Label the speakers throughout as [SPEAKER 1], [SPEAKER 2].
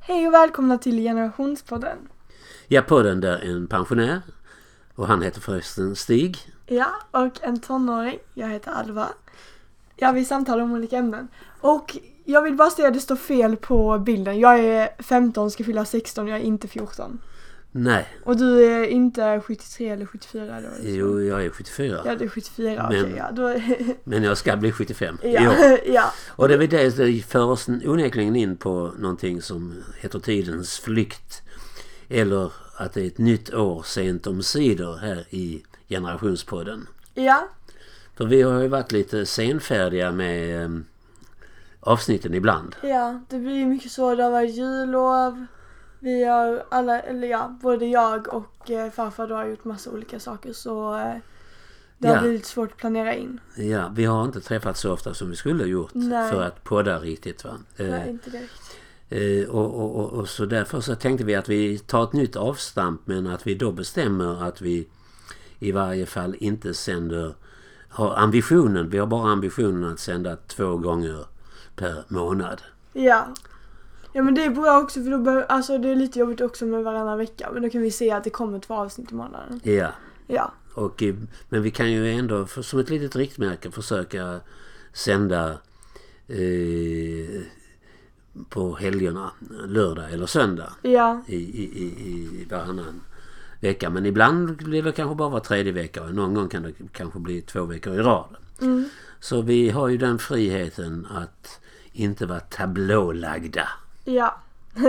[SPEAKER 1] Hej och välkomna till Generationspodden.
[SPEAKER 2] Ja, podden där en pensionär och han heter förresten Stig.
[SPEAKER 1] Ja, och en tonåring. Jag heter Alva. Ja, vi samtalar om olika ämnen. Och jag vill bara säga att det står fel på bilden. Jag är 15, ska fylla 16, jag är inte 14.
[SPEAKER 2] Nej,
[SPEAKER 1] Och du är inte 73 eller 74 eller vad det är.
[SPEAKER 2] jo, jag är 74.
[SPEAKER 1] Ja, du är 74, okej.
[SPEAKER 2] Men-
[SPEAKER 1] ja, då...
[SPEAKER 2] Men jag ska bli 75 i år.
[SPEAKER 1] ja, ja.
[SPEAKER 2] Och det är väl det, det för oss onekligen in på någonting som heter tidens flykt. Eller att det är ett nytt år sent omsider här i Generationspodden.
[SPEAKER 1] Ja,
[SPEAKER 2] För vi har ju varit lite senfärdiga med eh, avsnitten ibland.
[SPEAKER 1] ja, det blir ju mycket så. Det har varit jullov. Vi har alla, eller ja, både jag och eh, farfar då har gjort massa olika saker så eh, det har
[SPEAKER 2] Ja.
[SPEAKER 1] blivit svårt att planera in.
[SPEAKER 2] Ja, vi har inte träffats så ofta som vi skulle ha gjort
[SPEAKER 1] Nej.
[SPEAKER 2] för att podda riktigt. Va? Eh,
[SPEAKER 1] Nej, inte direkt.
[SPEAKER 2] Eh, och, och, och, och så därför så tänkte vi att vi tar ett nytt avstamp men att vi då bestämmer att vi i varje fall inte sänder, har ambitionen, vi har bara ambitionen att sända två gånger per månad.
[SPEAKER 1] Ja. Ja men det är bra också för då behöver, alltså det är lite jobbigt också med varannan vecka men då kan vi se att det kommer två avsnitt i månaden.
[SPEAKER 2] Ja,
[SPEAKER 1] Ja.
[SPEAKER 2] och, eh, men vi kan ju ändå för, som ett litet riktmärke försöka sända eh, på helgerna, lördag eller söndag.
[SPEAKER 1] Ja.
[SPEAKER 2] i, i, i, i varannan vecka. Men ibland blir det kanske bara var tredje vecka och någon gång kan det kanske bli två veckor i rad.
[SPEAKER 1] Mm.
[SPEAKER 2] Så vi har ju den friheten att inte vara tablålagda.
[SPEAKER 1] Ja.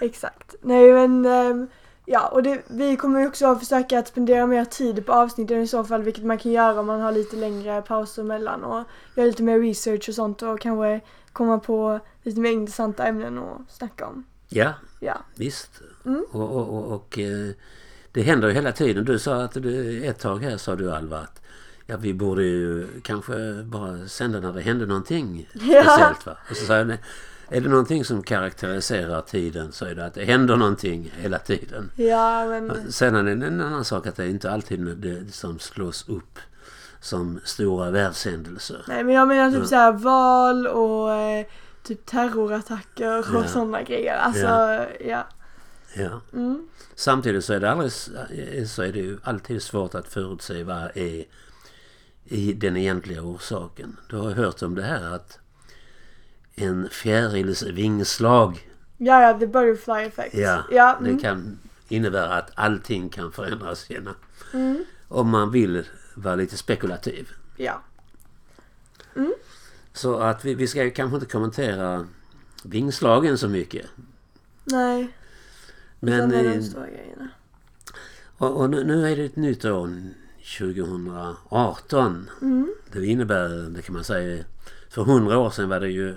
[SPEAKER 1] Exakt. Nej men ehm, ja och det, vi kommer ju också att försöka att spendera mer tid på avsnitten i så fall vilket man kan göra om man har lite längre pauser mellan och göra lite mer research och sånt och kanske komma på lite mer intressanta ämnen att snacka om.
[SPEAKER 2] Ja,
[SPEAKER 1] Ja.
[SPEAKER 2] visst.
[SPEAKER 1] Mm.
[SPEAKER 2] Och, och, och, och eh, det händer ju hela tiden. Du sa att du, ett tag här sa du Alva att ja, vi borde ju kanske bara sända när det händer någonting
[SPEAKER 1] Ja.
[SPEAKER 2] speciellt. Va? Och så sa jag, "Nej, är det någonting som karaktäriserar tiden så är det att det händer någonting hela tiden.
[SPEAKER 1] Ja men
[SPEAKER 2] Sen är det en annan sak att det är inte alltid det som slås upp som stora världshändelser.
[SPEAKER 1] Nej men jag menar typ
[SPEAKER 2] Ja.
[SPEAKER 1] såhär val och eh, typ terrorattacker och
[SPEAKER 2] Ja.
[SPEAKER 1] sådana grejer. Alltså ja.
[SPEAKER 2] Ja. Ja.
[SPEAKER 1] Mm.
[SPEAKER 2] Samtidigt så är, det aldrig, eh, så är det ju alltid svårt att förutse vad är i den egentliga orsaken. Du har hört om det här att en fjärils vingslag,
[SPEAKER 1] ja ja, the butterfly effect.
[SPEAKER 2] ja,
[SPEAKER 1] ja mm.
[SPEAKER 2] det kan innebära att allting kan förändras genom,
[SPEAKER 1] Mm.
[SPEAKER 2] om man vill vara lite spekulativ.
[SPEAKER 1] Ja.
[SPEAKER 2] Så att vi, vi ska ju kanske inte kommentera vingslagen så mycket.
[SPEAKER 1] Nej,
[SPEAKER 2] Men,
[SPEAKER 1] sen är det
[SPEAKER 2] eh,
[SPEAKER 1] de stora grejerna.
[SPEAKER 2] och, och nu, nu är det ett nytt år, 2018.
[SPEAKER 1] Mm.
[SPEAKER 2] Det innebär, det kan man säga, för hundra år sedan var det ju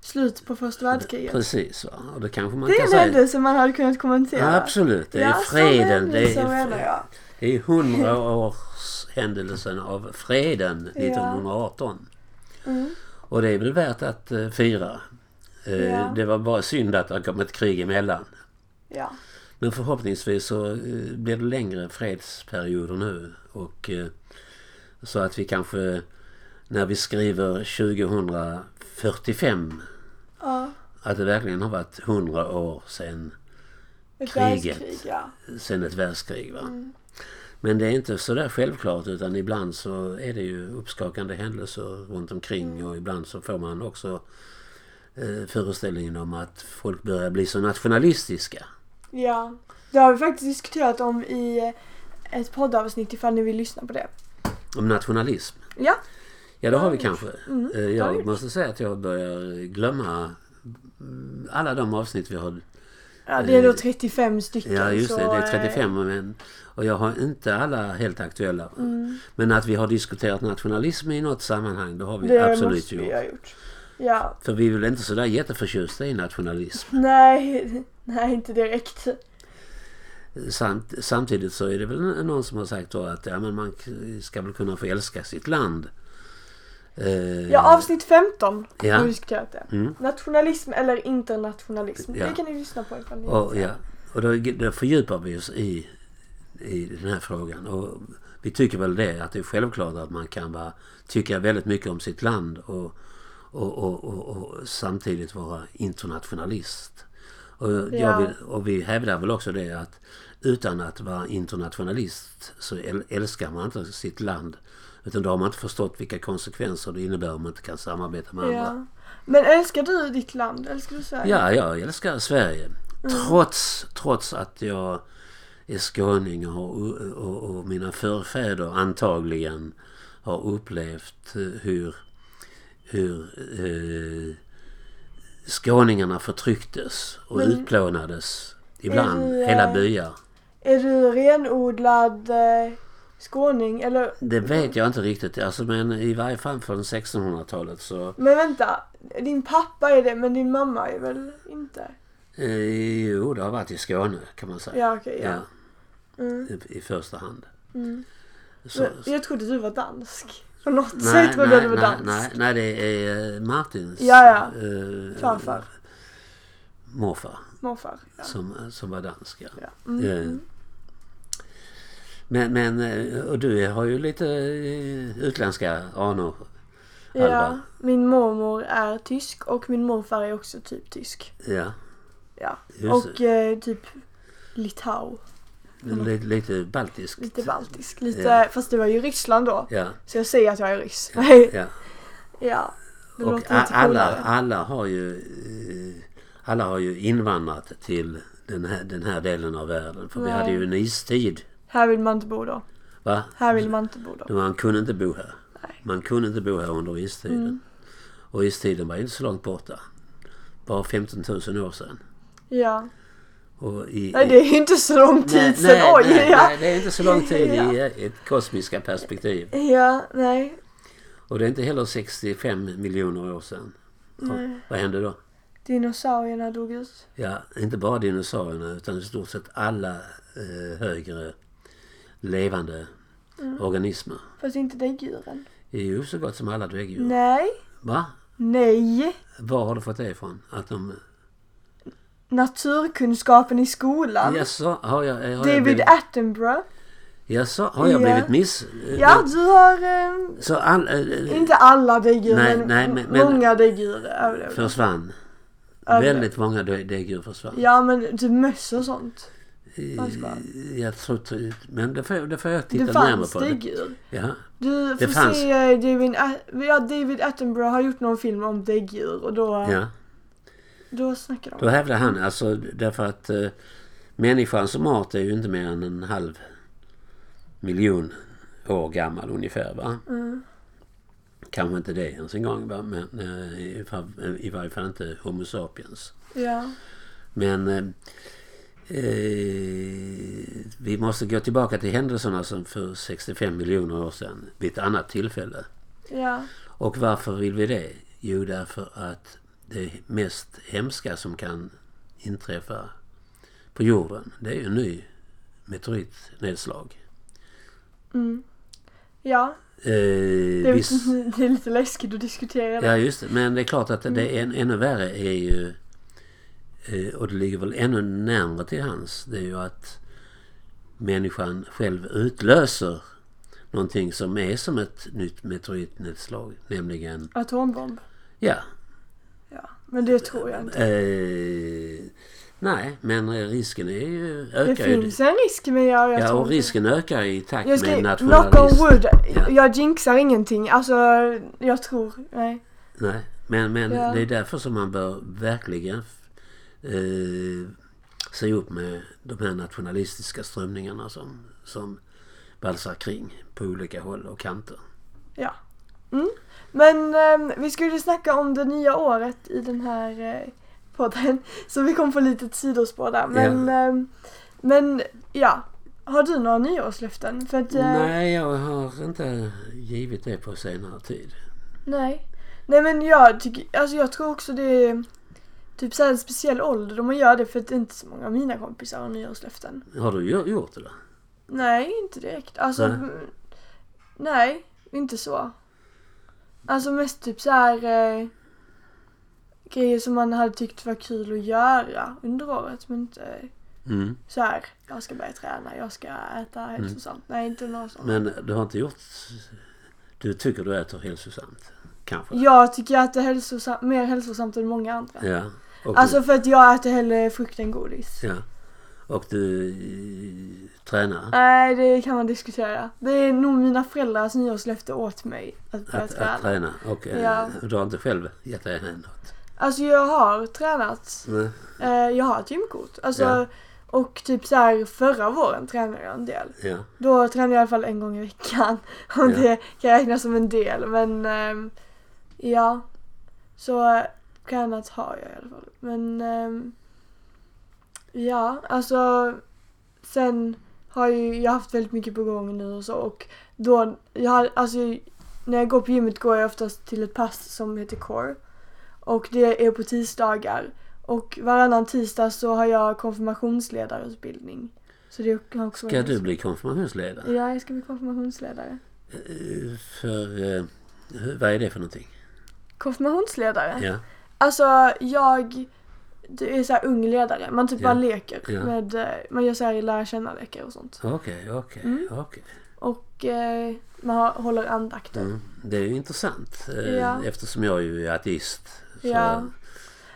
[SPEAKER 1] Slut på första världskriget.
[SPEAKER 2] precis. Va? Och det kanske man
[SPEAKER 1] det
[SPEAKER 2] kan
[SPEAKER 1] är en
[SPEAKER 2] säga.
[SPEAKER 1] händelse man hade kunnat kommentera.
[SPEAKER 2] Ja, absolut, det är
[SPEAKER 1] Ja, sån
[SPEAKER 2] freden. Det
[SPEAKER 1] händelse menar
[SPEAKER 2] är,
[SPEAKER 1] jag.
[SPEAKER 2] det är hundraårshändelsen av freden
[SPEAKER 1] Ja.
[SPEAKER 2] 1918.
[SPEAKER 1] Mm.
[SPEAKER 2] Och det är väl värt att eh, fira. Eh,
[SPEAKER 1] Ja.
[SPEAKER 2] Det var bara synd att det har kommit krig emellan.
[SPEAKER 1] Ja.
[SPEAKER 2] Men förhoppningsvis så eh, blir det längre fredsperioder nu. Och, eh, så att vi kanske när vi skriver 2045
[SPEAKER 1] ja.
[SPEAKER 2] att det verkligen har varit 100 år sedan,
[SPEAKER 1] Ett
[SPEAKER 2] Kriget.
[SPEAKER 1] världskrig ja. Mm.
[SPEAKER 2] sedan ett världskrig. Va? Men det är inte så där självklart utan ibland så är det ju uppskakande händelser runt omkring och ibland så får man också eh, föreställningen om att folk börjar bli så nationalistiska.
[SPEAKER 1] Ja. Det har vi faktiskt diskuterat om i ett poddavsnitt ifall ni vill lyssna på det.
[SPEAKER 2] Om nationalism.
[SPEAKER 1] Ja.
[SPEAKER 2] Ja, det har vi kanske.
[SPEAKER 1] Mm, det
[SPEAKER 2] Eh,
[SPEAKER 1] har vi
[SPEAKER 2] Jag
[SPEAKER 1] gjort.
[SPEAKER 2] måste säga att jag börjar glömma mm, alla de avsnitt vi har.
[SPEAKER 1] Ja, det är då
[SPEAKER 2] Eh,
[SPEAKER 1] 35 stycken.
[SPEAKER 2] Ja, just det.
[SPEAKER 1] så,
[SPEAKER 2] Det är
[SPEAKER 1] eh,
[SPEAKER 2] 35 men, och jag har inte alla helt aktuella.
[SPEAKER 1] Mm.
[SPEAKER 2] Men att vi har diskuterat nationalism i något sammanhang, det har vi
[SPEAKER 1] Det
[SPEAKER 2] absolut
[SPEAKER 1] måste vi
[SPEAKER 2] gjort.
[SPEAKER 1] ha gjort. Ja,
[SPEAKER 2] För vi är väl inte sådär jätteförtjusta i nationalism.
[SPEAKER 1] nej, nej inte direkt.
[SPEAKER 2] Samt, samtidigt så är det väl någon som har sagt då att ja, men man ska väl kunna få älska sitt land. Eh,
[SPEAKER 1] Ja, avsnitt 15
[SPEAKER 2] Ja.
[SPEAKER 1] har vi diskuterat det.
[SPEAKER 2] Mm.
[SPEAKER 1] Nationalism eller internationalism.
[SPEAKER 2] Ja.
[SPEAKER 1] Det kan ni lyssna på ifall ni
[SPEAKER 2] Och, ja. och då, då fördjupar vi oss i, i den här frågan. Och vi tycker väl det att det är självklart att man kan vara, tycka väldigt mycket om sitt land och, och, och, och, och samtidigt vara internationalist. Och, jag
[SPEAKER 1] Ja.
[SPEAKER 2] vill, och vi hävdar väl också det att utan att vara internationalist så äl- älskar man inte sitt land. Utan då har man inte förstått vilka konsekvenser det innebär om man inte kan samarbeta med andra.
[SPEAKER 1] Ja. Men älskar du ditt land? Älskar du Sverige? Mm.
[SPEAKER 2] Ja, jag älskar Sverige. Trots, trots att jag är skåning och, och, och mina förfäder antagligen har upplevt eh, hur, hur eh, skåningarna förtrycktes och
[SPEAKER 1] Men-
[SPEAKER 2] utplånades. Ibland
[SPEAKER 1] Är du,
[SPEAKER 2] hela
[SPEAKER 1] eh,
[SPEAKER 2] byar.
[SPEAKER 1] Är du renodlad eh, skåning? Eller,
[SPEAKER 2] Det vet jag inte riktigt. Alltså, men i varje fall från 1600-talet så...
[SPEAKER 1] men vänta. Din pappa är det, men din mamma är väl inte?
[SPEAKER 2] Eh, jo, det har varit i Skåne kan man säga.
[SPEAKER 1] Ja, okej. ja.
[SPEAKER 2] Ja,
[SPEAKER 1] Mm.
[SPEAKER 2] i, I första hand.
[SPEAKER 1] Mm.
[SPEAKER 2] Så,
[SPEAKER 1] Men Jag trodde du var dansk. På något
[SPEAKER 2] Nej,
[SPEAKER 1] sätt trodde jag du var
[SPEAKER 2] nej,
[SPEAKER 1] dansk.
[SPEAKER 2] nej, nej, det är eh, Martins
[SPEAKER 1] Ja, ja.
[SPEAKER 2] eh,
[SPEAKER 1] Farfar.
[SPEAKER 2] morfar
[SPEAKER 1] Morfar. Ja.
[SPEAKER 2] som, eh, som var dansk. Ja.
[SPEAKER 1] Ja. Mm.
[SPEAKER 2] Eh, Men, men eh, och du har ju lite eh, utländska anor.
[SPEAKER 1] ja.
[SPEAKER 2] Alba.
[SPEAKER 1] Min mormor är tysk och min morfar är också typ tysk.
[SPEAKER 2] Ja,
[SPEAKER 1] Ja.
[SPEAKER 2] just
[SPEAKER 1] Och eh, typ Litau.
[SPEAKER 2] det. lite, lite baltiskt.
[SPEAKER 1] Lite baltisk. Lite,
[SPEAKER 2] Ja.
[SPEAKER 1] Fast det var ju Ryssland då.
[SPEAKER 2] Ja,
[SPEAKER 1] Så jag säger att jag är ryss. Nej.
[SPEAKER 2] ja.
[SPEAKER 1] Ja. Det
[SPEAKER 2] och
[SPEAKER 1] låter
[SPEAKER 2] a-
[SPEAKER 1] lite
[SPEAKER 2] alla,
[SPEAKER 1] coolare.
[SPEAKER 2] alla, har ju, eh, alla har ju invandrat till den här, den här delen av världen. För vi
[SPEAKER 1] Nej.
[SPEAKER 2] hade ju en istid.
[SPEAKER 1] Här vill man inte bo då.
[SPEAKER 2] Va?
[SPEAKER 1] Här vill man inte bo då.
[SPEAKER 2] Man kunde inte bo här.
[SPEAKER 1] Nej. Mm.
[SPEAKER 2] Man kunde inte bo här under istiden. Och istiden var ju inte så långt borta. Bara 15 000 år sedan.
[SPEAKER 1] Ja.
[SPEAKER 2] Och i,
[SPEAKER 1] Nej det är ju inte så lång tid
[SPEAKER 2] nej,
[SPEAKER 1] sedan.
[SPEAKER 2] nej,
[SPEAKER 1] Oj!
[SPEAKER 2] nej,
[SPEAKER 1] ja.
[SPEAKER 2] nej, det är inte så lång tid
[SPEAKER 1] Ja.
[SPEAKER 2] i eh, ett kosmiska perspektiv.
[SPEAKER 1] ja, nej.
[SPEAKER 2] Och det är inte heller 65 miljoner år sedan. Och
[SPEAKER 1] Nej.
[SPEAKER 2] Vad hände då?
[SPEAKER 1] Dinosaurierna dog ut.
[SPEAKER 2] Ja, inte bara dinosaurierna utan i stort sett alla eh, högre levande
[SPEAKER 1] Mm.
[SPEAKER 2] organismer.
[SPEAKER 1] Fast inte däggdjuren.
[SPEAKER 2] Det är ju så gott som alla däggdjur.
[SPEAKER 1] Nej.
[SPEAKER 2] Va?
[SPEAKER 1] Nej.
[SPEAKER 2] Var har du fått det ifrån? Att de...
[SPEAKER 1] Naturkunskapen i skolan.
[SPEAKER 2] Jaså, har jag, har jag
[SPEAKER 1] David
[SPEAKER 2] blivit,
[SPEAKER 1] Attenborough.
[SPEAKER 2] jaså, har jag
[SPEAKER 1] Ja.
[SPEAKER 2] blivit miss...
[SPEAKER 1] Ja, du har... Eh,
[SPEAKER 2] Så all, eh,
[SPEAKER 1] inte alla däggdjur,
[SPEAKER 2] Nej,
[SPEAKER 1] men,
[SPEAKER 2] nej, men- men-
[SPEAKER 1] många däggdjur överlevde.
[SPEAKER 2] försvann.
[SPEAKER 1] Överlevde.
[SPEAKER 2] Väldigt många dä- däggdjur försvann.
[SPEAKER 1] Ja, men typ möss och sånt. fanns kvar.
[SPEAKER 2] Eh, Jag tror inte- Men det får, jag- det får jag titta
[SPEAKER 1] Det
[SPEAKER 2] närmare
[SPEAKER 1] fanns
[SPEAKER 2] på. Det.
[SPEAKER 1] däggdjur.
[SPEAKER 2] Ja.
[SPEAKER 1] Du
[SPEAKER 2] Det
[SPEAKER 1] får
[SPEAKER 2] fanns.
[SPEAKER 1] se eh, David, At- ja, David Attenborough har gjort någon film om däggdjur och då,
[SPEAKER 2] Ja.
[SPEAKER 1] då snackar de.
[SPEAKER 2] Då hävdar han, alltså därför att eh, människan som art är ju inte mer än en halv miljon år gammal ungefär. Va?
[SPEAKER 1] Mm.
[SPEAKER 2] Kanske inte det ens en gång, va? men eh, i, fa- i varje fall inte Homo sapiens.
[SPEAKER 1] Ja.
[SPEAKER 2] Men eh, eh, vi måste gå tillbaka till händelserna som för 65 miljoner år sedan vid ett annat tillfälle.
[SPEAKER 1] Ja.
[SPEAKER 2] Och varför vill vi det? Jo, därför att det mest hemska som kan inträffa på jorden, det är ju en ny meteoritnedslag.
[SPEAKER 1] Mm. Ja.
[SPEAKER 2] Eh,
[SPEAKER 1] Det är,
[SPEAKER 2] visst,
[SPEAKER 1] det är lite läskigt att diskutera det.
[SPEAKER 2] ja, just det. Men det är klart att
[SPEAKER 1] Mm.
[SPEAKER 2] det är en, ännu värre är ju, eh, och det ligger väl ännu närmare till hans, det är ju att människan själv utlöser någonting som är som ett nytt meteoritnedslag, nämligen,
[SPEAKER 1] Atombomb.
[SPEAKER 2] ja,
[SPEAKER 1] Ja. Men det tror jag inte.
[SPEAKER 2] Eh, nej, men risken är ju,
[SPEAKER 1] Det
[SPEAKER 2] ökar ju.
[SPEAKER 1] finns en risk men jag, jag
[SPEAKER 2] Ja,
[SPEAKER 1] tror
[SPEAKER 2] och
[SPEAKER 1] inte-
[SPEAKER 2] risken ökar i takt
[SPEAKER 1] Jag ska,
[SPEAKER 2] med
[SPEAKER 1] knock
[SPEAKER 2] nationalism.
[SPEAKER 1] on wood.
[SPEAKER 2] Ja.
[SPEAKER 1] Jag jinxar ingenting. Alltså, jag tror, nej.
[SPEAKER 2] Nej, men men
[SPEAKER 1] Ja.
[SPEAKER 2] det är därför som man bör verkligen eh, se upp med de här nationalistiska strömningarna som, som valsar kring på olika håll och kanter.
[SPEAKER 1] Mm. Men eh, vi skulle snacka om det nya året i den här eh, podden. Så vi kom på lite sidospår där. Men, ehm, men ja. Har du några nyårslöften? För att, eh,
[SPEAKER 2] Nej, jag har inte givit det på senare tid.
[SPEAKER 1] nej. Nej men jag tycker, alltså jag tror också det är typ så här en speciell ålder då man gör det för att inte så många av mina kompisar har nyårslöften.
[SPEAKER 2] Har du gjo- gjort det då?
[SPEAKER 1] Nej, inte direkt. Alltså,
[SPEAKER 2] Nej.
[SPEAKER 1] nej, nej inte så. Alltså mest typ så här eh, grejer som man hade tyckt var kul att göra under året. Men inte
[SPEAKER 2] Mm.
[SPEAKER 1] så här, jag ska börja träna, jag ska äta hälsosamt. Nej, inte något sånt.
[SPEAKER 2] Men du har inte gjort... Du tycker du äter hälsosamt? Kanske?
[SPEAKER 1] Jag tycker att det är hälsosam, mer hälsosamt än många andra.
[SPEAKER 2] Ja. Och,
[SPEAKER 1] Alltså för att jag äter hellre frukt än godis.
[SPEAKER 2] ja. och du eh, tränar?
[SPEAKER 1] Nej, det kan man diskutera. Det är nog mina föräldrars nyårslöfte åt mig att börja
[SPEAKER 2] Att, att
[SPEAKER 1] träna.
[SPEAKER 2] träna? Och eh,
[SPEAKER 1] Ja.
[SPEAKER 2] du har inte själv gett dig än något?
[SPEAKER 1] Alltså jag har tränat.
[SPEAKER 2] Nej.
[SPEAKER 1] Eh, jag har ett gymkort. Alltså,
[SPEAKER 2] Ja.
[SPEAKER 1] Och typ så här förra våren tränade jag en del.
[SPEAKER 2] Ja.
[SPEAKER 1] Då tränade jag i alla fall en gång i veckan. Och
[SPEAKER 2] Ja.
[SPEAKER 1] det kan räknas som en del. Men ehm, ja, så eh, tränat har jag i alla fall. Men ehm, ja, alltså sen har ju jag haft väldigt mycket på gång nu och så. Och då, jag har, alltså när jag går på gymmet går jag oftast till ett pass som heter Core. Och det är på tisdagar. Och varannan tisdag så har jag konfirmationsledarutbildning. Så det har också
[SPEAKER 2] Ska
[SPEAKER 1] varit-
[SPEAKER 2] du bli konfirmationsledare?
[SPEAKER 1] Ja, jag ska bli konfirmationsledare.
[SPEAKER 2] Eh, För, eh, hur- vad är det för någonting?
[SPEAKER 1] Konfirmationsledare?
[SPEAKER 2] Ja,
[SPEAKER 1] Alltså, jag... Du är såhär ung ledare. Man typ
[SPEAKER 2] Ja.
[SPEAKER 1] bara leker
[SPEAKER 2] Ja.
[SPEAKER 1] med... eh, Man gör såhär lära känna-lekar och sånt.
[SPEAKER 2] okej, okej,
[SPEAKER 1] Mm.
[SPEAKER 2] okej.
[SPEAKER 1] Och eh, man har, håller andakter.
[SPEAKER 2] Mm. Det är ju intressant eh,
[SPEAKER 1] Ja.
[SPEAKER 2] eftersom jag ju är ateist. Så,
[SPEAKER 1] Ja.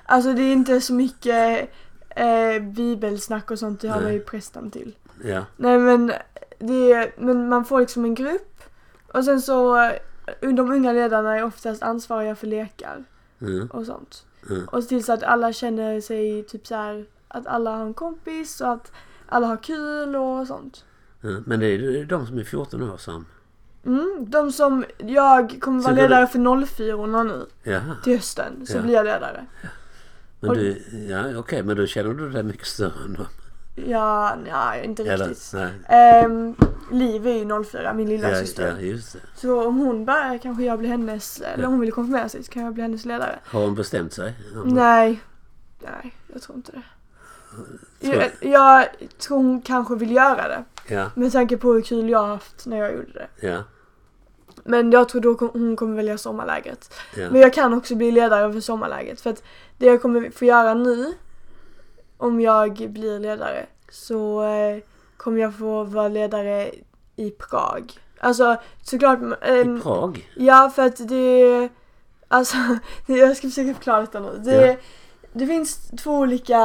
[SPEAKER 1] Alltså det är inte så mycket eh, bibelsnack och sånt. Det har
[SPEAKER 2] Nej.
[SPEAKER 1] man ju prästen till.
[SPEAKER 2] ja.
[SPEAKER 1] Nej men, det är, men man får liksom en grupp. Och sen så... eh, De unga ledarna är oftast ansvariga för lekar.
[SPEAKER 2] Mm.
[SPEAKER 1] och sånt.
[SPEAKER 2] Mm.
[SPEAKER 1] Och se till så att alla känner sig typ så här att alla har en kompis och att alla har kul och sånt.
[SPEAKER 2] Mm. Men det är ju de som är 14 år som...
[SPEAKER 1] Mm, de som, jag kommer
[SPEAKER 2] Så
[SPEAKER 1] vara
[SPEAKER 2] går
[SPEAKER 1] ledare för 04 nu
[SPEAKER 2] Jaha.
[SPEAKER 1] till hösten så
[SPEAKER 2] Ja.
[SPEAKER 1] blir jag ledare.
[SPEAKER 2] Men
[SPEAKER 1] Och-
[SPEAKER 2] du, ja okej, men då känner du dig mycket större än dem?
[SPEAKER 1] Ja, nej inte
[SPEAKER 2] Eller?
[SPEAKER 1] riktigt.
[SPEAKER 2] Nej.
[SPEAKER 1] Ehm, Liv är ju 04, min lilla
[SPEAKER 2] Ja,
[SPEAKER 1] syster.
[SPEAKER 2] ja, just det.
[SPEAKER 1] Så om hon börjar kanske jag blir hennes, eller
[SPEAKER 2] Ja.
[SPEAKER 1] om hon vill konfirmera sig så kan jag bli hennes ledare.
[SPEAKER 2] Har hon bestämt sig? Om-
[SPEAKER 1] Nej, nej jag tror inte det.
[SPEAKER 2] Tror-
[SPEAKER 1] Jag, jag tror hon kanske vill göra det.
[SPEAKER 2] Ja,
[SPEAKER 1] Med tanke på hur kul jag har haft när jag gjorde det.
[SPEAKER 2] ja,
[SPEAKER 1] Men jag tror då kom- hon kommer välja sommarlägret. Men
[SPEAKER 2] ja.
[SPEAKER 1] jag kan också bli ledare för sommarlägret. För att det jag kommer få göra nu, om jag blir ledare, så eh, kommer jag få vara ledare i Prag. Alltså såklart... ehm,
[SPEAKER 2] I Prag?
[SPEAKER 1] Ja, för att det... Alltså, jag ska försöka förklara detta nu. Det,
[SPEAKER 2] Ja.
[SPEAKER 1] det finns två olika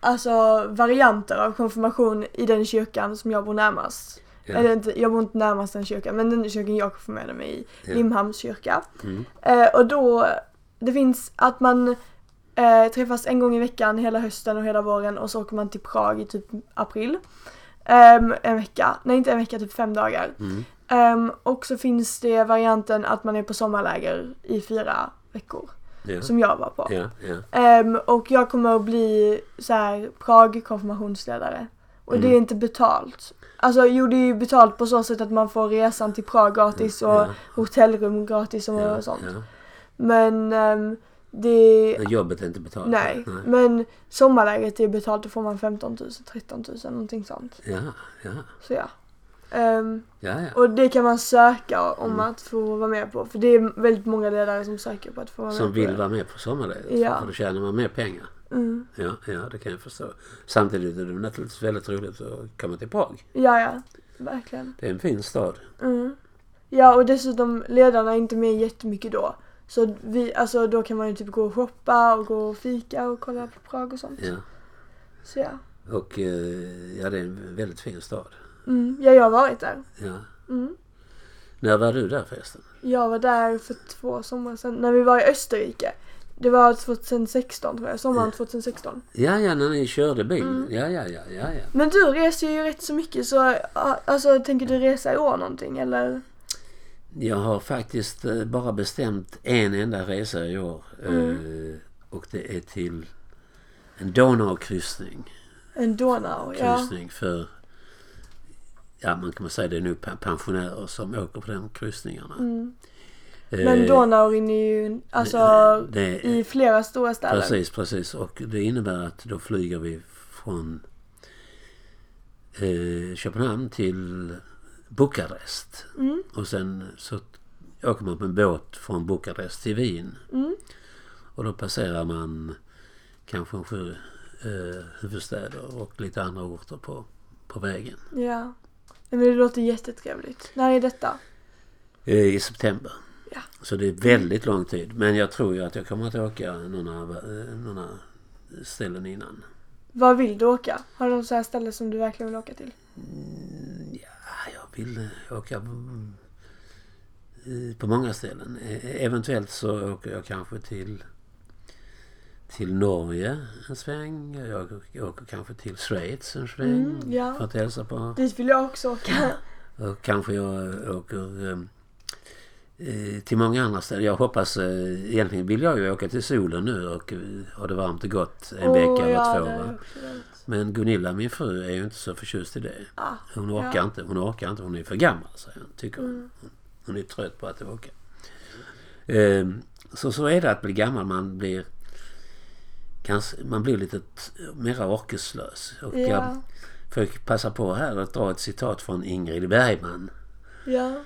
[SPEAKER 1] alltså, varianter av konfirmation i den kyrkan som jag bor närmast.
[SPEAKER 2] Ja.
[SPEAKER 1] Eller inte, jag bor inte närmast den kyrkan, men den kyrkan jag konfirmerade mig i,
[SPEAKER 2] Ja.
[SPEAKER 1] Limhamns kyrka.
[SPEAKER 2] Mm.
[SPEAKER 1] Eh, och då, det finns att man eh, träffas en gång i veckan hela hösten och hela våren och så åker man till Prag i typ april. Ehm, en vecka, nej inte en vecka, typ fem dagar.
[SPEAKER 2] Mm.
[SPEAKER 1] Ehm, och så finns det varianten att man är på sommarläger i fyra veckor.
[SPEAKER 2] Ja.
[SPEAKER 1] Som jag var på.
[SPEAKER 2] ja, ja.
[SPEAKER 1] Ehm, och jag kommer att bli så här Prag-konfirmationsledare. Och
[SPEAKER 2] Mm.
[SPEAKER 1] det är inte betalt. Alltså jo det är ju betalt på så sätt att man får resan till Prag gratis och
[SPEAKER 2] Mm, Ja.
[SPEAKER 1] hotellrum gratis och
[SPEAKER 2] Ja,
[SPEAKER 1] sånt.
[SPEAKER 2] ja.
[SPEAKER 1] Men ehm, det...
[SPEAKER 2] Men jobbet är inte betalt?
[SPEAKER 1] Nej. Mm. Men sommarlägret är betalt, då får man 15 000, 13 000 någonting sånt.
[SPEAKER 2] Ja, ja,
[SPEAKER 1] Så ja. Ehm,
[SPEAKER 2] ja, ja.
[SPEAKER 1] och det kan man söka om
[SPEAKER 2] Mm.
[SPEAKER 1] att få vara med på. För det är väldigt många ledare som söker på att få vara
[SPEAKER 2] Som
[SPEAKER 1] med på
[SPEAKER 2] vill
[SPEAKER 1] det.
[SPEAKER 2] vara med på sommarledigt?
[SPEAKER 1] Ja.
[SPEAKER 2] För då tjänar man mer pengar?
[SPEAKER 1] Mm.
[SPEAKER 2] Ja, ja, det kan jag förstå. Samtidigt är det naturligtvis väldigt roligt att komma till Prag.
[SPEAKER 1] Ja, ja. Verkligen.
[SPEAKER 2] Det är en fin stad.
[SPEAKER 1] Mm. Ja, och dessutom ledarna är inte med jättemycket då. Så vi, alltså, då kan man ju typ gå och shoppa och gå och fika och kolla på Prag och sånt.
[SPEAKER 2] Ja.
[SPEAKER 1] Så ja.
[SPEAKER 2] Och eh, ja, det är en väldigt fin stad.
[SPEAKER 1] Mm. Ja, jag har varit där.
[SPEAKER 2] Ja.
[SPEAKER 1] Mm.
[SPEAKER 2] När var du där förresten?
[SPEAKER 1] Jag var där för två somrar sedan, när vi var i Österrike. Det var 2016 tror jag, sommaren 2016.
[SPEAKER 2] Ja, ja, när ni körde bil.
[SPEAKER 1] Mm.
[SPEAKER 2] Ja, ja, ja, ja, ja.
[SPEAKER 1] Men du reser ju rätt så mycket så ja, alltså, tänker du resa i år någonting eller?
[SPEAKER 2] Jag har faktiskt eh, bara bestämt en enda resa i år. eh,
[SPEAKER 1] Mm.
[SPEAKER 2] Och det är till en Donaukryssning.
[SPEAKER 1] En Donau, ja.
[SPEAKER 2] Kryssning för, ja man kan väl säga det är nu pe- pensionärer som åker på de kryssningarna. Eh,
[SPEAKER 1] Mm. Men Donau rinner ju alltså
[SPEAKER 2] det-
[SPEAKER 1] i flera stora städer.
[SPEAKER 2] Precis, precis. Och det innebär att då flyger vi från eh, Köpenhamn till Bukarest.
[SPEAKER 1] Mm.
[SPEAKER 2] Och sen så åker man på en båt från Bukarest till Wien.
[SPEAKER 1] Mm.
[SPEAKER 2] Och då passerar man kanske sju eh, huvudstäder och lite andra orter på, på vägen.
[SPEAKER 1] Ja. Nej, men det låter jättetrevligt. När är detta?
[SPEAKER 2] Eh, I september.
[SPEAKER 1] Ja.
[SPEAKER 2] Så det är väldigt lång tid. Men jag tror ju att jag kommer att åka några, eh, några ställen innan.
[SPEAKER 1] Var vill du åka? Har du något så här ställe som du verkligen vill åka till?
[SPEAKER 2] Mm, Ja, jag vill eh, åka eh, på många ställen. E- Eventuellt så åker jag kanske till, till Norge en sväng. Jag åker- åker kanske till Schweiz en sväng
[SPEAKER 1] Mm, ja.
[SPEAKER 2] för att hälsa på.
[SPEAKER 1] Dit vill jag också åka.
[SPEAKER 2] Och kanske jag åker eh, eh, till många andra ställen. Jag hoppas, eh, egentligen vill jag ju åka till solen nu och eh, ha det varmt och gott en vecka eller
[SPEAKER 1] ja,
[SPEAKER 2] två.
[SPEAKER 1] det är
[SPEAKER 2] Va?
[SPEAKER 1] också väldigt-
[SPEAKER 2] Men Gunilla, min fru, är ju inte så förtjust i det.
[SPEAKER 1] Ah,
[SPEAKER 2] Hon orkar
[SPEAKER 1] Ja.
[SPEAKER 2] inte, hon orkar inte, hon är för gammal säger hon, tycker hon.
[SPEAKER 1] mm.
[SPEAKER 2] Hon är trött på att åka. Ehm, Så, så är det att bli gammal, man blir kanske, man blir lite t- mera orkeslös. Och jag
[SPEAKER 1] Ja.
[SPEAKER 2] får passa på här att dra ett citat från Ingrid Bergman.
[SPEAKER 1] Ja.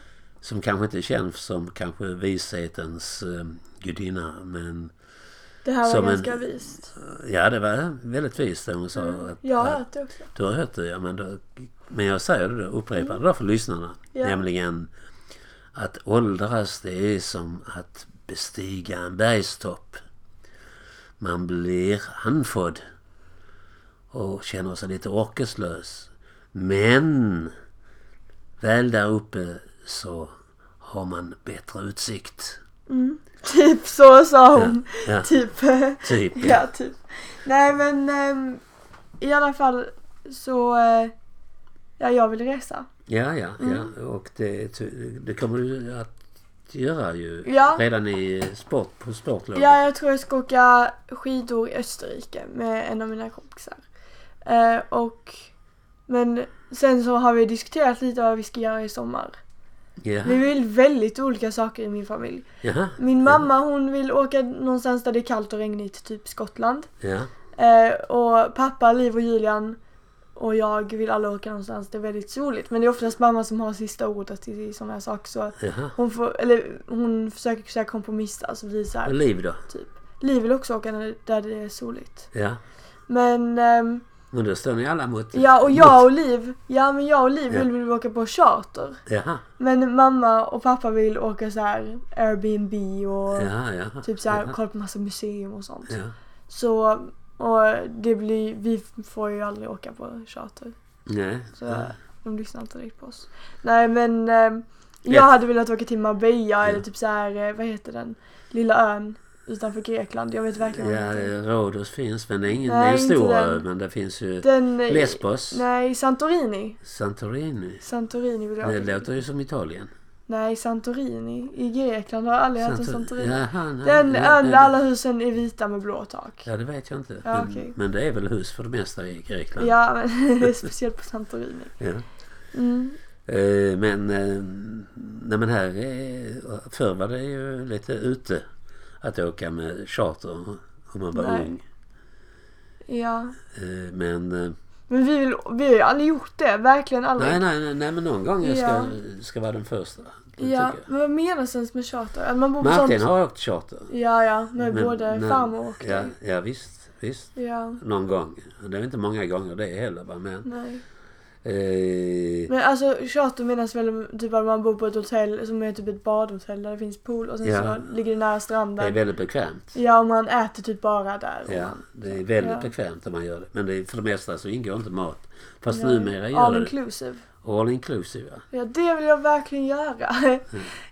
[SPEAKER 2] Som kanske inte känns som kanske vishetens eh, gudinna men
[SPEAKER 1] Det här var
[SPEAKER 2] Som en-
[SPEAKER 1] ganska vist.
[SPEAKER 2] ja det var väldigt vist det hon sa. Att,
[SPEAKER 1] Jag har
[SPEAKER 2] att,
[SPEAKER 1] hört det också.
[SPEAKER 2] du har hört det ja men, då, men jag säger det då, upprepar det då för lyssnarna.
[SPEAKER 1] Ja.
[SPEAKER 2] Nämligen att åldras det är som att bestiga en bergstopp. Man blir andfådd och känner sig lite orkeslös. Men väl där uppe så har man bättre utsikt.
[SPEAKER 1] Typ så sa
[SPEAKER 2] Ja,
[SPEAKER 1] hon.
[SPEAKER 2] ja,
[SPEAKER 1] Typ.
[SPEAKER 2] typ.
[SPEAKER 1] ja, typ. Nej men ehm, i alla fall så... eh, ja, jag vill resa.
[SPEAKER 2] Ja, ja,
[SPEAKER 1] Mm.
[SPEAKER 2] ja. Och det, ty- det kommer du att göra ju
[SPEAKER 1] Ja.
[SPEAKER 2] redan i sport, på sportlovet.
[SPEAKER 1] Ja, jag tror jag ska åka skidor i Österrike med en av mina kompisar. Eh, och... Men sen så har vi diskuterat lite vad vi ska göra i sommar.
[SPEAKER 2] Ja.
[SPEAKER 1] Vi vill väldigt olika saker i min familj.
[SPEAKER 2] Jaha.
[SPEAKER 1] Min mamma hon vill åka någonstans där det är kallt och regnigt, typ Skottland.
[SPEAKER 2] Ja.
[SPEAKER 1] Eh, och pappa, Liv och Julian och jag vill alla åka någonstans där det är väldigt soligt. Men det är oftast mamma som har sista ordet i, i sådana här saker. Så
[SPEAKER 2] Jaha.
[SPEAKER 1] hon, får, eller, hon försöker så här kompromissa. Så vi så
[SPEAKER 2] Och
[SPEAKER 1] här,
[SPEAKER 2] liv då?
[SPEAKER 1] Liv vill också åka när- där det är soligt.
[SPEAKER 2] Ja.
[SPEAKER 1] Men ehm,
[SPEAKER 2] Men då står ni alla mot...
[SPEAKER 1] ja, och jag och Liv, ja men jag och Liv
[SPEAKER 2] Ja.
[SPEAKER 1] vill, vill åka på charter.
[SPEAKER 2] Jaha.
[SPEAKER 1] Men mamma och pappa vill åka så här Airbnb och
[SPEAKER 2] Jaha, jaha.
[SPEAKER 1] typ så här,
[SPEAKER 2] Jaha.
[SPEAKER 1] kolla på massa museum och sånt.
[SPEAKER 2] Ja.
[SPEAKER 1] Så och det blir, vi får ju aldrig åka på charter.
[SPEAKER 2] Nej.
[SPEAKER 1] Så
[SPEAKER 2] Ja.
[SPEAKER 1] de lyssnar inte riktigt på oss. Nej men ehm, jag
[SPEAKER 2] Lätt.
[SPEAKER 1] hade velat åka till Marbella eller typ så här, eh, vad heter den, lilla ön utanför Grekland. Jag vet verkligen vad den
[SPEAKER 2] Ja,
[SPEAKER 1] heter.
[SPEAKER 2] Rhodos finns men det är ingen
[SPEAKER 1] Nej,
[SPEAKER 2] det är en
[SPEAKER 1] inte
[SPEAKER 2] stor
[SPEAKER 1] den.
[SPEAKER 2] ö men det finns ju
[SPEAKER 1] Den,
[SPEAKER 2] Lesbos,
[SPEAKER 1] Nej, Santorini.
[SPEAKER 2] Santorini.
[SPEAKER 1] Santorini vill jag
[SPEAKER 2] Det
[SPEAKER 1] åka till.
[SPEAKER 2] låter ju som Italien.
[SPEAKER 1] Nej, Santorini. I Grekland har jag aldrig hört om
[SPEAKER 2] Santor-
[SPEAKER 1] Santorini.
[SPEAKER 2] Jaha, nej,
[SPEAKER 1] Den
[SPEAKER 2] nej,
[SPEAKER 1] ön
[SPEAKER 2] nej.
[SPEAKER 1] där alla husen är vita med blå tak.
[SPEAKER 2] Ja, det vet jag inte.
[SPEAKER 1] Ja,
[SPEAKER 2] men,
[SPEAKER 1] okej.
[SPEAKER 2] men det är väl hus för det mesta i Grekland.
[SPEAKER 1] Ja, men det är speciellt på Santorini.
[SPEAKER 2] Ja.
[SPEAKER 1] Mm.
[SPEAKER 2] Eh, Men, eh, nej, men här är- förr var det ju lite ute att åka med charter om man var
[SPEAKER 1] Nej.
[SPEAKER 2] ung.
[SPEAKER 1] Ja.
[SPEAKER 2] Eh, Men eh,
[SPEAKER 1] Men vi, vill, vi har ju aldrig gjort det. Verkligen aldrig.
[SPEAKER 2] nej, nej, nej, nej men någon gång jag ska, ska vara den första.
[SPEAKER 1] ja,
[SPEAKER 2] Det tycker jag.
[SPEAKER 1] men vad menas ens med charter? Att man bor på
[SPEAKER 2] Martin
[SPEAKER 1] sånt...
[SPEAKER 2] har åkt charter.
[SPEAKER 1] Ja, ja. Med
[SPEAKER 2] Men-
[SPEAKER 1] både
[SPEAKER 2] men-
[SPEAKER 1] farmor och
[SPEAKER 2] ja,
[SPEAKER 1] dig.
[SPEAKER 2] ja visst, visst.
[SPEAKER 1] Ja.
[SPEAKER 2] Någon gång. Det är inte många gånger det heller va? men...
[SPEAKER 1] Nej.
[SPEAKER 2] Eh,
[SPEAKER 1] Mm. Men alltså charter menas väl typ att man bor på ett hotell som är typ ett badhotell där det finns pool och sen
[SPEAKER 2] Ja.
[SPEAKER 1] så ligger det nära
[SPEAKER 2] det är
[SPEAKER 1] stranden.
[SPEAKER 2] väldigt bekvämt.
[SPEAKER 1] Ja, och man äter typ bara där. och-
[SPEAKER 2] Ja, det är väldigt
[SPEAKER 1] Ja.
[SPEAKER 2] bekvämt om man gör det. Men det är, för det mesta så ingår inte mat. Fast
[SPEAKER 1] Ja.
[SPEAKER 2] numera gör
[SPEAKER 1] All
[SPEAKER 2] det.
[SPEAKER 1] inclusive.
[SPEAKER 2] All inclusive, ja.
[SPEAKER 1] Ja, det vill jag verkligen göra.
[SPEAKER 2] Mm.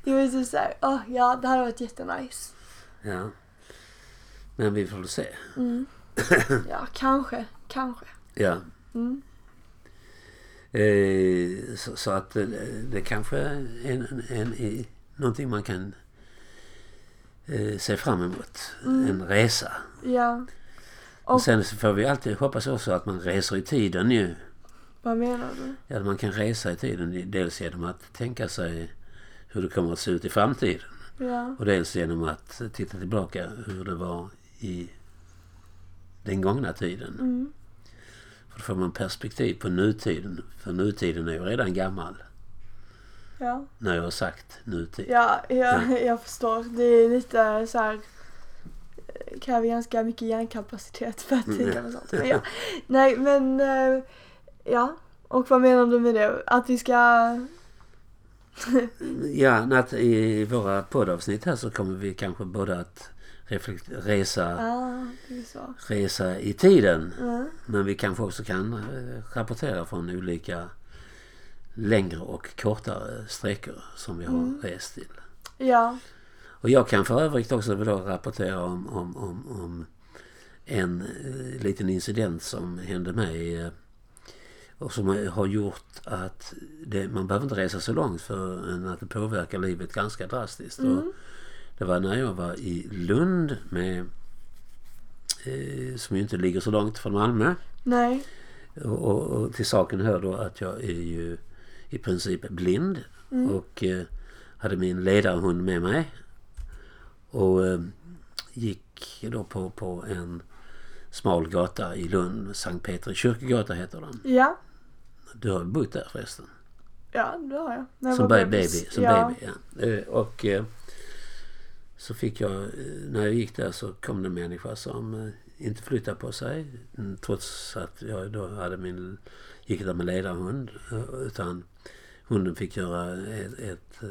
[SPEAKER 1] Jag vill typ såhär, åh ja, det här har varit jättenice.
[SPEAKER 2] ja. Men vi får väl se.
[SPEAKER 1] Mm. Ja, kanske, kanske.
[SPEAKER 2] Ja.
[SPEAKER 1] Mm.
[SPEAKER 2] Eh, så, så att eh, det kanske är en, en, en, i- någonting man kan eh, se fram emot. En resa.
[SPEAKER 1] Ja,
[SPEAKER 2] Och
[SPEAKER 1] Mm. Och-
[SPEAKER 2] sen så får vi alltid hoppas också att man reser i tiden ju.
[SPEAKER 1] vad menar du?
[SPEAKER 2] Ja, man kan resa i tiden dels genom att tänka sig hur det kommer att se ut i framtiden.
[SPEAKER 1] Ja,
[SPEAKER 2] Och dels genom att titta tillbaka hur det var i den gångna tiden.
[SPEAKER 1] mm.
[SPEAKER 2] För då får man perspektiv på nutiden. För nutiden är ju redan gammal.
[SPEAKER 1] ja.
[SPEAKER 2] När jag har sagt nutid.
[SPEAKER 1] Ja, jag, jag förstår. Det är lite så här eh, kräver ganska mycket hjärnkapacitet för att
[SPEAKER 2] Mm,
[SPEAKER 1] tänka
[SPEAKER 2] ja.
[SPEAKER 1] på sånt. Men ja. Nej, men eh, ja. Och vad menar du med det? Att vi ska
[SPEAKER 2] Ja, Nat, i våra poddavsnitt här så kommer vi kanske både att reflekt- resa,
[SPEAKER 1] Ah, det är så.
[SPEAKER 2] resa i tiden.
[SPEAKER 1] Mm.
[SPEAKER 2] Men vi kanske också kan eh, rapportera från olika längre och kortare sträckor som vi har rest till.
[SPEAKER 1] Ja.
[SPEAKER 2] Och jag kan för övrigt också då rapportera om, om, om, om en eh, liten incident som hände mig eh, och som har gjort att det, man behöver inte resa så långt för en- att det påverkar livet ganska drastiskt. Och det var när jag var i Lund med eh, som ju inte ligger så långt från Malmö.
[SPEAKER 1] Nej.
[SPEAKER 2] Och, och, och till saken hör då att jag är ju i princip blind och eh, hade min ledarhund med mig. Och eh, gick då på, på en smal gata i Lund, Sankt Petri kyrkogata heter den.
[SPEAKER 1] Ja.
[SPEAKER 2] Du har bott där förresten.
[SPEAKER 1] Ja, det har jag. När jag
[SPEAKER 2] Som
[SPEAKER 1] var
[SPEAKER 2] baby, baby. Som
[SPEAKER 1] ja.
[SPEAKER 2] baby ja. Eh, Och eh, så fick jag, eh, när jag gick där så kom det en människa som eh, inte flyttade på sig. mm, Trots att jag då hade min, gick där med ledarhund. eh, Utan hunden fick göra ett, ett, eh,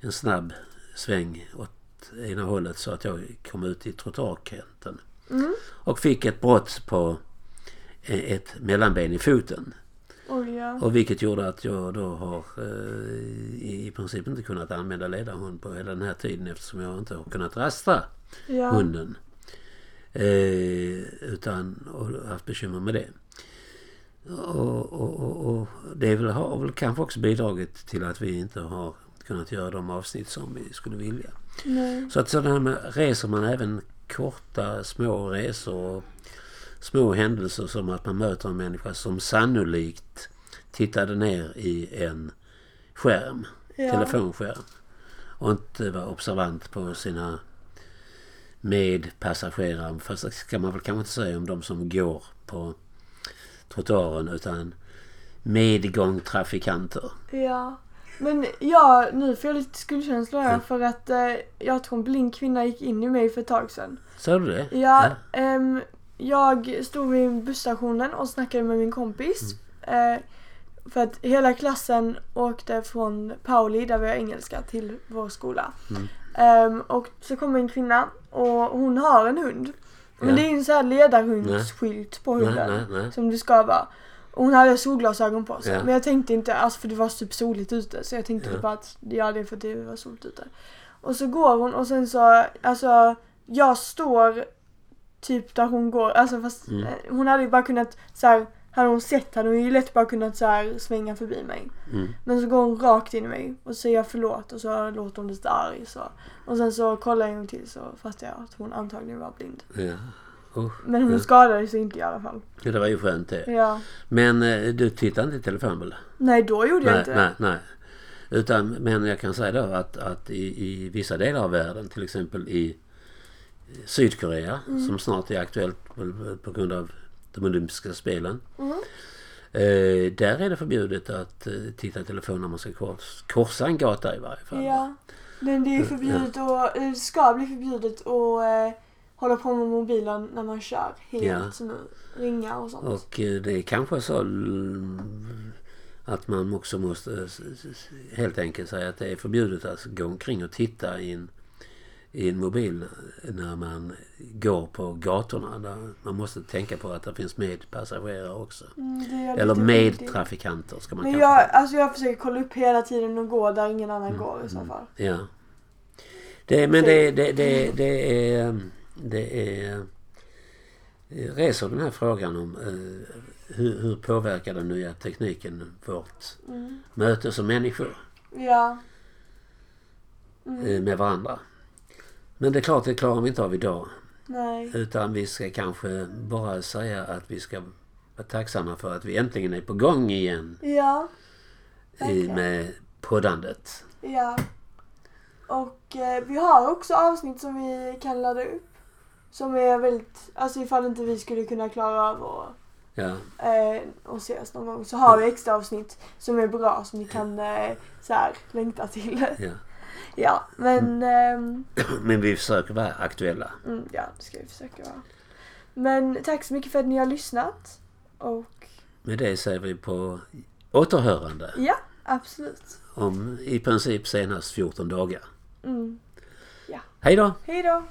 [SPEAKER 2] en snabb sväng åt ena hållet så att jag kom ut i trottoarkanten.
[SPEAKER 1] Mm.
[SPEAKER 2] Och fick ett brott på eh, ett mellanben i foten.
[SPEAKER 1] Oj, ja.
[SPEAKER 2] Och vilket gjorde att jag då har eh, i i princip inte kunnat använda ledarhund på hela den här tiden eftersom jag inte har kunnat rasta
[SPEAKER 1] Ja.
[SPEAKER 2] hunden. Eh, utan och haft bekymmer med det. Och, och, och, och det är väl, har väl kanske också bidragit till att vi inte har kunnat göra de avsnitt som vi skulle vilja.
[SPEAKER 1] Nej.
[SPEAKER 2] Så att sådana här med, reser man även korta små resor och små händelser som att man möter en människa som sannolikt tittade ner i en skärm,
[SPEAKER 1] Ja.
[SPEAKER 2] telefonskärm och inte var observant på sina medpassagerare. Fast det ska man väl kanske inte säga om de som går på trottoaren utan medgångtrafikanter.
[SPEAKER 1] Ja. Men ja, nu får jag lite skuldkänslor här
[SPEAKER 2] Mm.
[SPEAKER 1] för att eh, jag tror en blind kvinna gick in i mig för ett tag sedan.
[SPEAKER 2] Såg du det?
[SPEAKER 1] Ja, ehm, jag stod vid busstationen och snackade med min kompis. Eh, för att hela klassen åkte från Pauli, där vi har engelska, till vår skola. Ehm, och så kom en kvinna och hon har en hund. Men
[SPEAKER 2] Ja.
[SPEAKER 1] det är ju en sån här ledarhundsskylt på
[SPEAKER 2] Nej,
[SPEAKER 1] hunden.
[SPEAKER 2] nej, nej.
[SPEAKER 1] Som det ska vara. Och hon hade solglasögon på sig.
[SPEAKER 2] Ja.
[SPEAKER 1] Men jag tänkte inte, alltså för det var typ soligt ute. Så jag tänkte
[SPEAKER 2] Ja.
[SPEAKER 1] bara att ja, det är för att det var soligt ute. Och så går hon och sen så, alltså jag står typ där hon går. Alltså fast
[SPEAKER 2] Mm.
[SPEAKER 1] eh, hon hade ju bara kunnat så här, hade hon sett hade hon ju lätt bara kunnat så här, svänga förbi mig.
[SPEAKER 2] Mm.
[SPEAKER 1] Men så går hon rakt in i mig och säger jag förlåt och så låter hon lite arg så. Och sen så kollar jag en gång till så fattar jag att hon antagligen var blind.
[SPEAKER 2] Ja. Usch.
[SPEAKER 1] Men hon
[SPEAKER 2] Ja.
[SPEAKER 1] skadade sig inte i alla fall.
[SPEAKER 2] Ja, Det var ju skönt det.
[SPEAKER 1] Ja.
[SPEAKER 2] Men eh, du tittar inte i telefon väl?
[SPEAKER 1] Nej, då gjorde jag
[SPEAKER 2] Nej,
[SPEAKER 1] inte.
[SPEAKER 2] nej, nej. Utan, men jag kan säga då att, att i, i vissa delar av världen, till exempel i eh, Sydkorea,
[SPEAKER 1] Mm.
[SPEAKER 2] som snart är aktuellt på, på grund av de olympiska spelen.
[SPEAKER 1] Mhm.
[SPEAKER 2] Eh, där är det förbjudet att eh, titta i telefon när man ska kors, korsa en gata i varje fall.
[SPEAKER 1] Ja. Men det
[SPEAKER 2] Mm.
[SPEAKER 1] är ju förbjudet och det ska bli förbjudet att eh, hålla på med mobilen när man kör helt
[SPEAKER 2] Ja.
[SPEAKER 1] nu. Ringa och sånt.
[SPEAKER 2] Och eh, det är kanske så l- att man också måste eh, s- s- helt enkelt säga att det är förbjudet att gå omkring och titta i en, i en mobil när man går på gatorna. Där man måste tänka på att det finns medpassagerare också.
[SPEAKER 1] Mm, det gör
[SPEAKER 2] Eller
[SPEAKER 1] lite olyckligt.
[SPEAKER 2] medtrafikanter ska man
[SPEAKER 1] Men
[SPEAKER 2] kanske
[SPEAKER 1] jag, alltså jag försöker kolla upp hela tiden och gå där ingen
[SPEAKER 2] Mm,
[SPEAKER 1] annan går i så fall.
[SPEAKER 2] Ja. Det, men det, det, det, det är... mm, Det är eh, reser den här frågan om eh, hur, hur påverkar den nya tekniken vårt
[SPEAKER 1] Mm.
[SPEAKER 2] möte som människor
[SPEAKER 1] Ja. Mm,
[SPEAKER 2] eh, med varandra. Men det är klart, det klarar vi inte av idag.
[SPEAKER 1] Nej.
[SPEAKER 2] Utan vi ska kanske bara säga att vi ska vara tacksamma för att vi äntligen är på gång igen
[SPEAKER 1] Ja.
[SPEAKER 2] i,
[SPEAKER 1] Verkligen.
[SPEAKER 2] med poddandet.
[SPEAKER 1] Ja. Och eh, vi har också avsnitt som vi kan ladda upp. Som är väldigt, alltså ifall inte vi skulle kunna klara av att
[SPEAKER 2] Ja,
[SPEAKER 1] eh, och ses någon gång så har vi extra avsnitt som är bra som ni kan eh, så här, längta till.
[SPEAKER 2] ja.
[SPEAKER 1] ja, men ehm,
[SPEAKER 2] Men vi försöker vara aktuella.
[SPEAKER 1] mm, ja, det ska vi försöka vara. Men tack så mycket för att ni har lyssnat och
[SPEAKER 2] Med det säger vi på återhörande.
[SPEAKER 1] ja, Absolut.
[SPEAKER 2] om i princip senast 14 dagar.
[SPEAKER 1] Mm.
[SPEAKER 2] Hej då!
[SPEAKER 1] Hej då!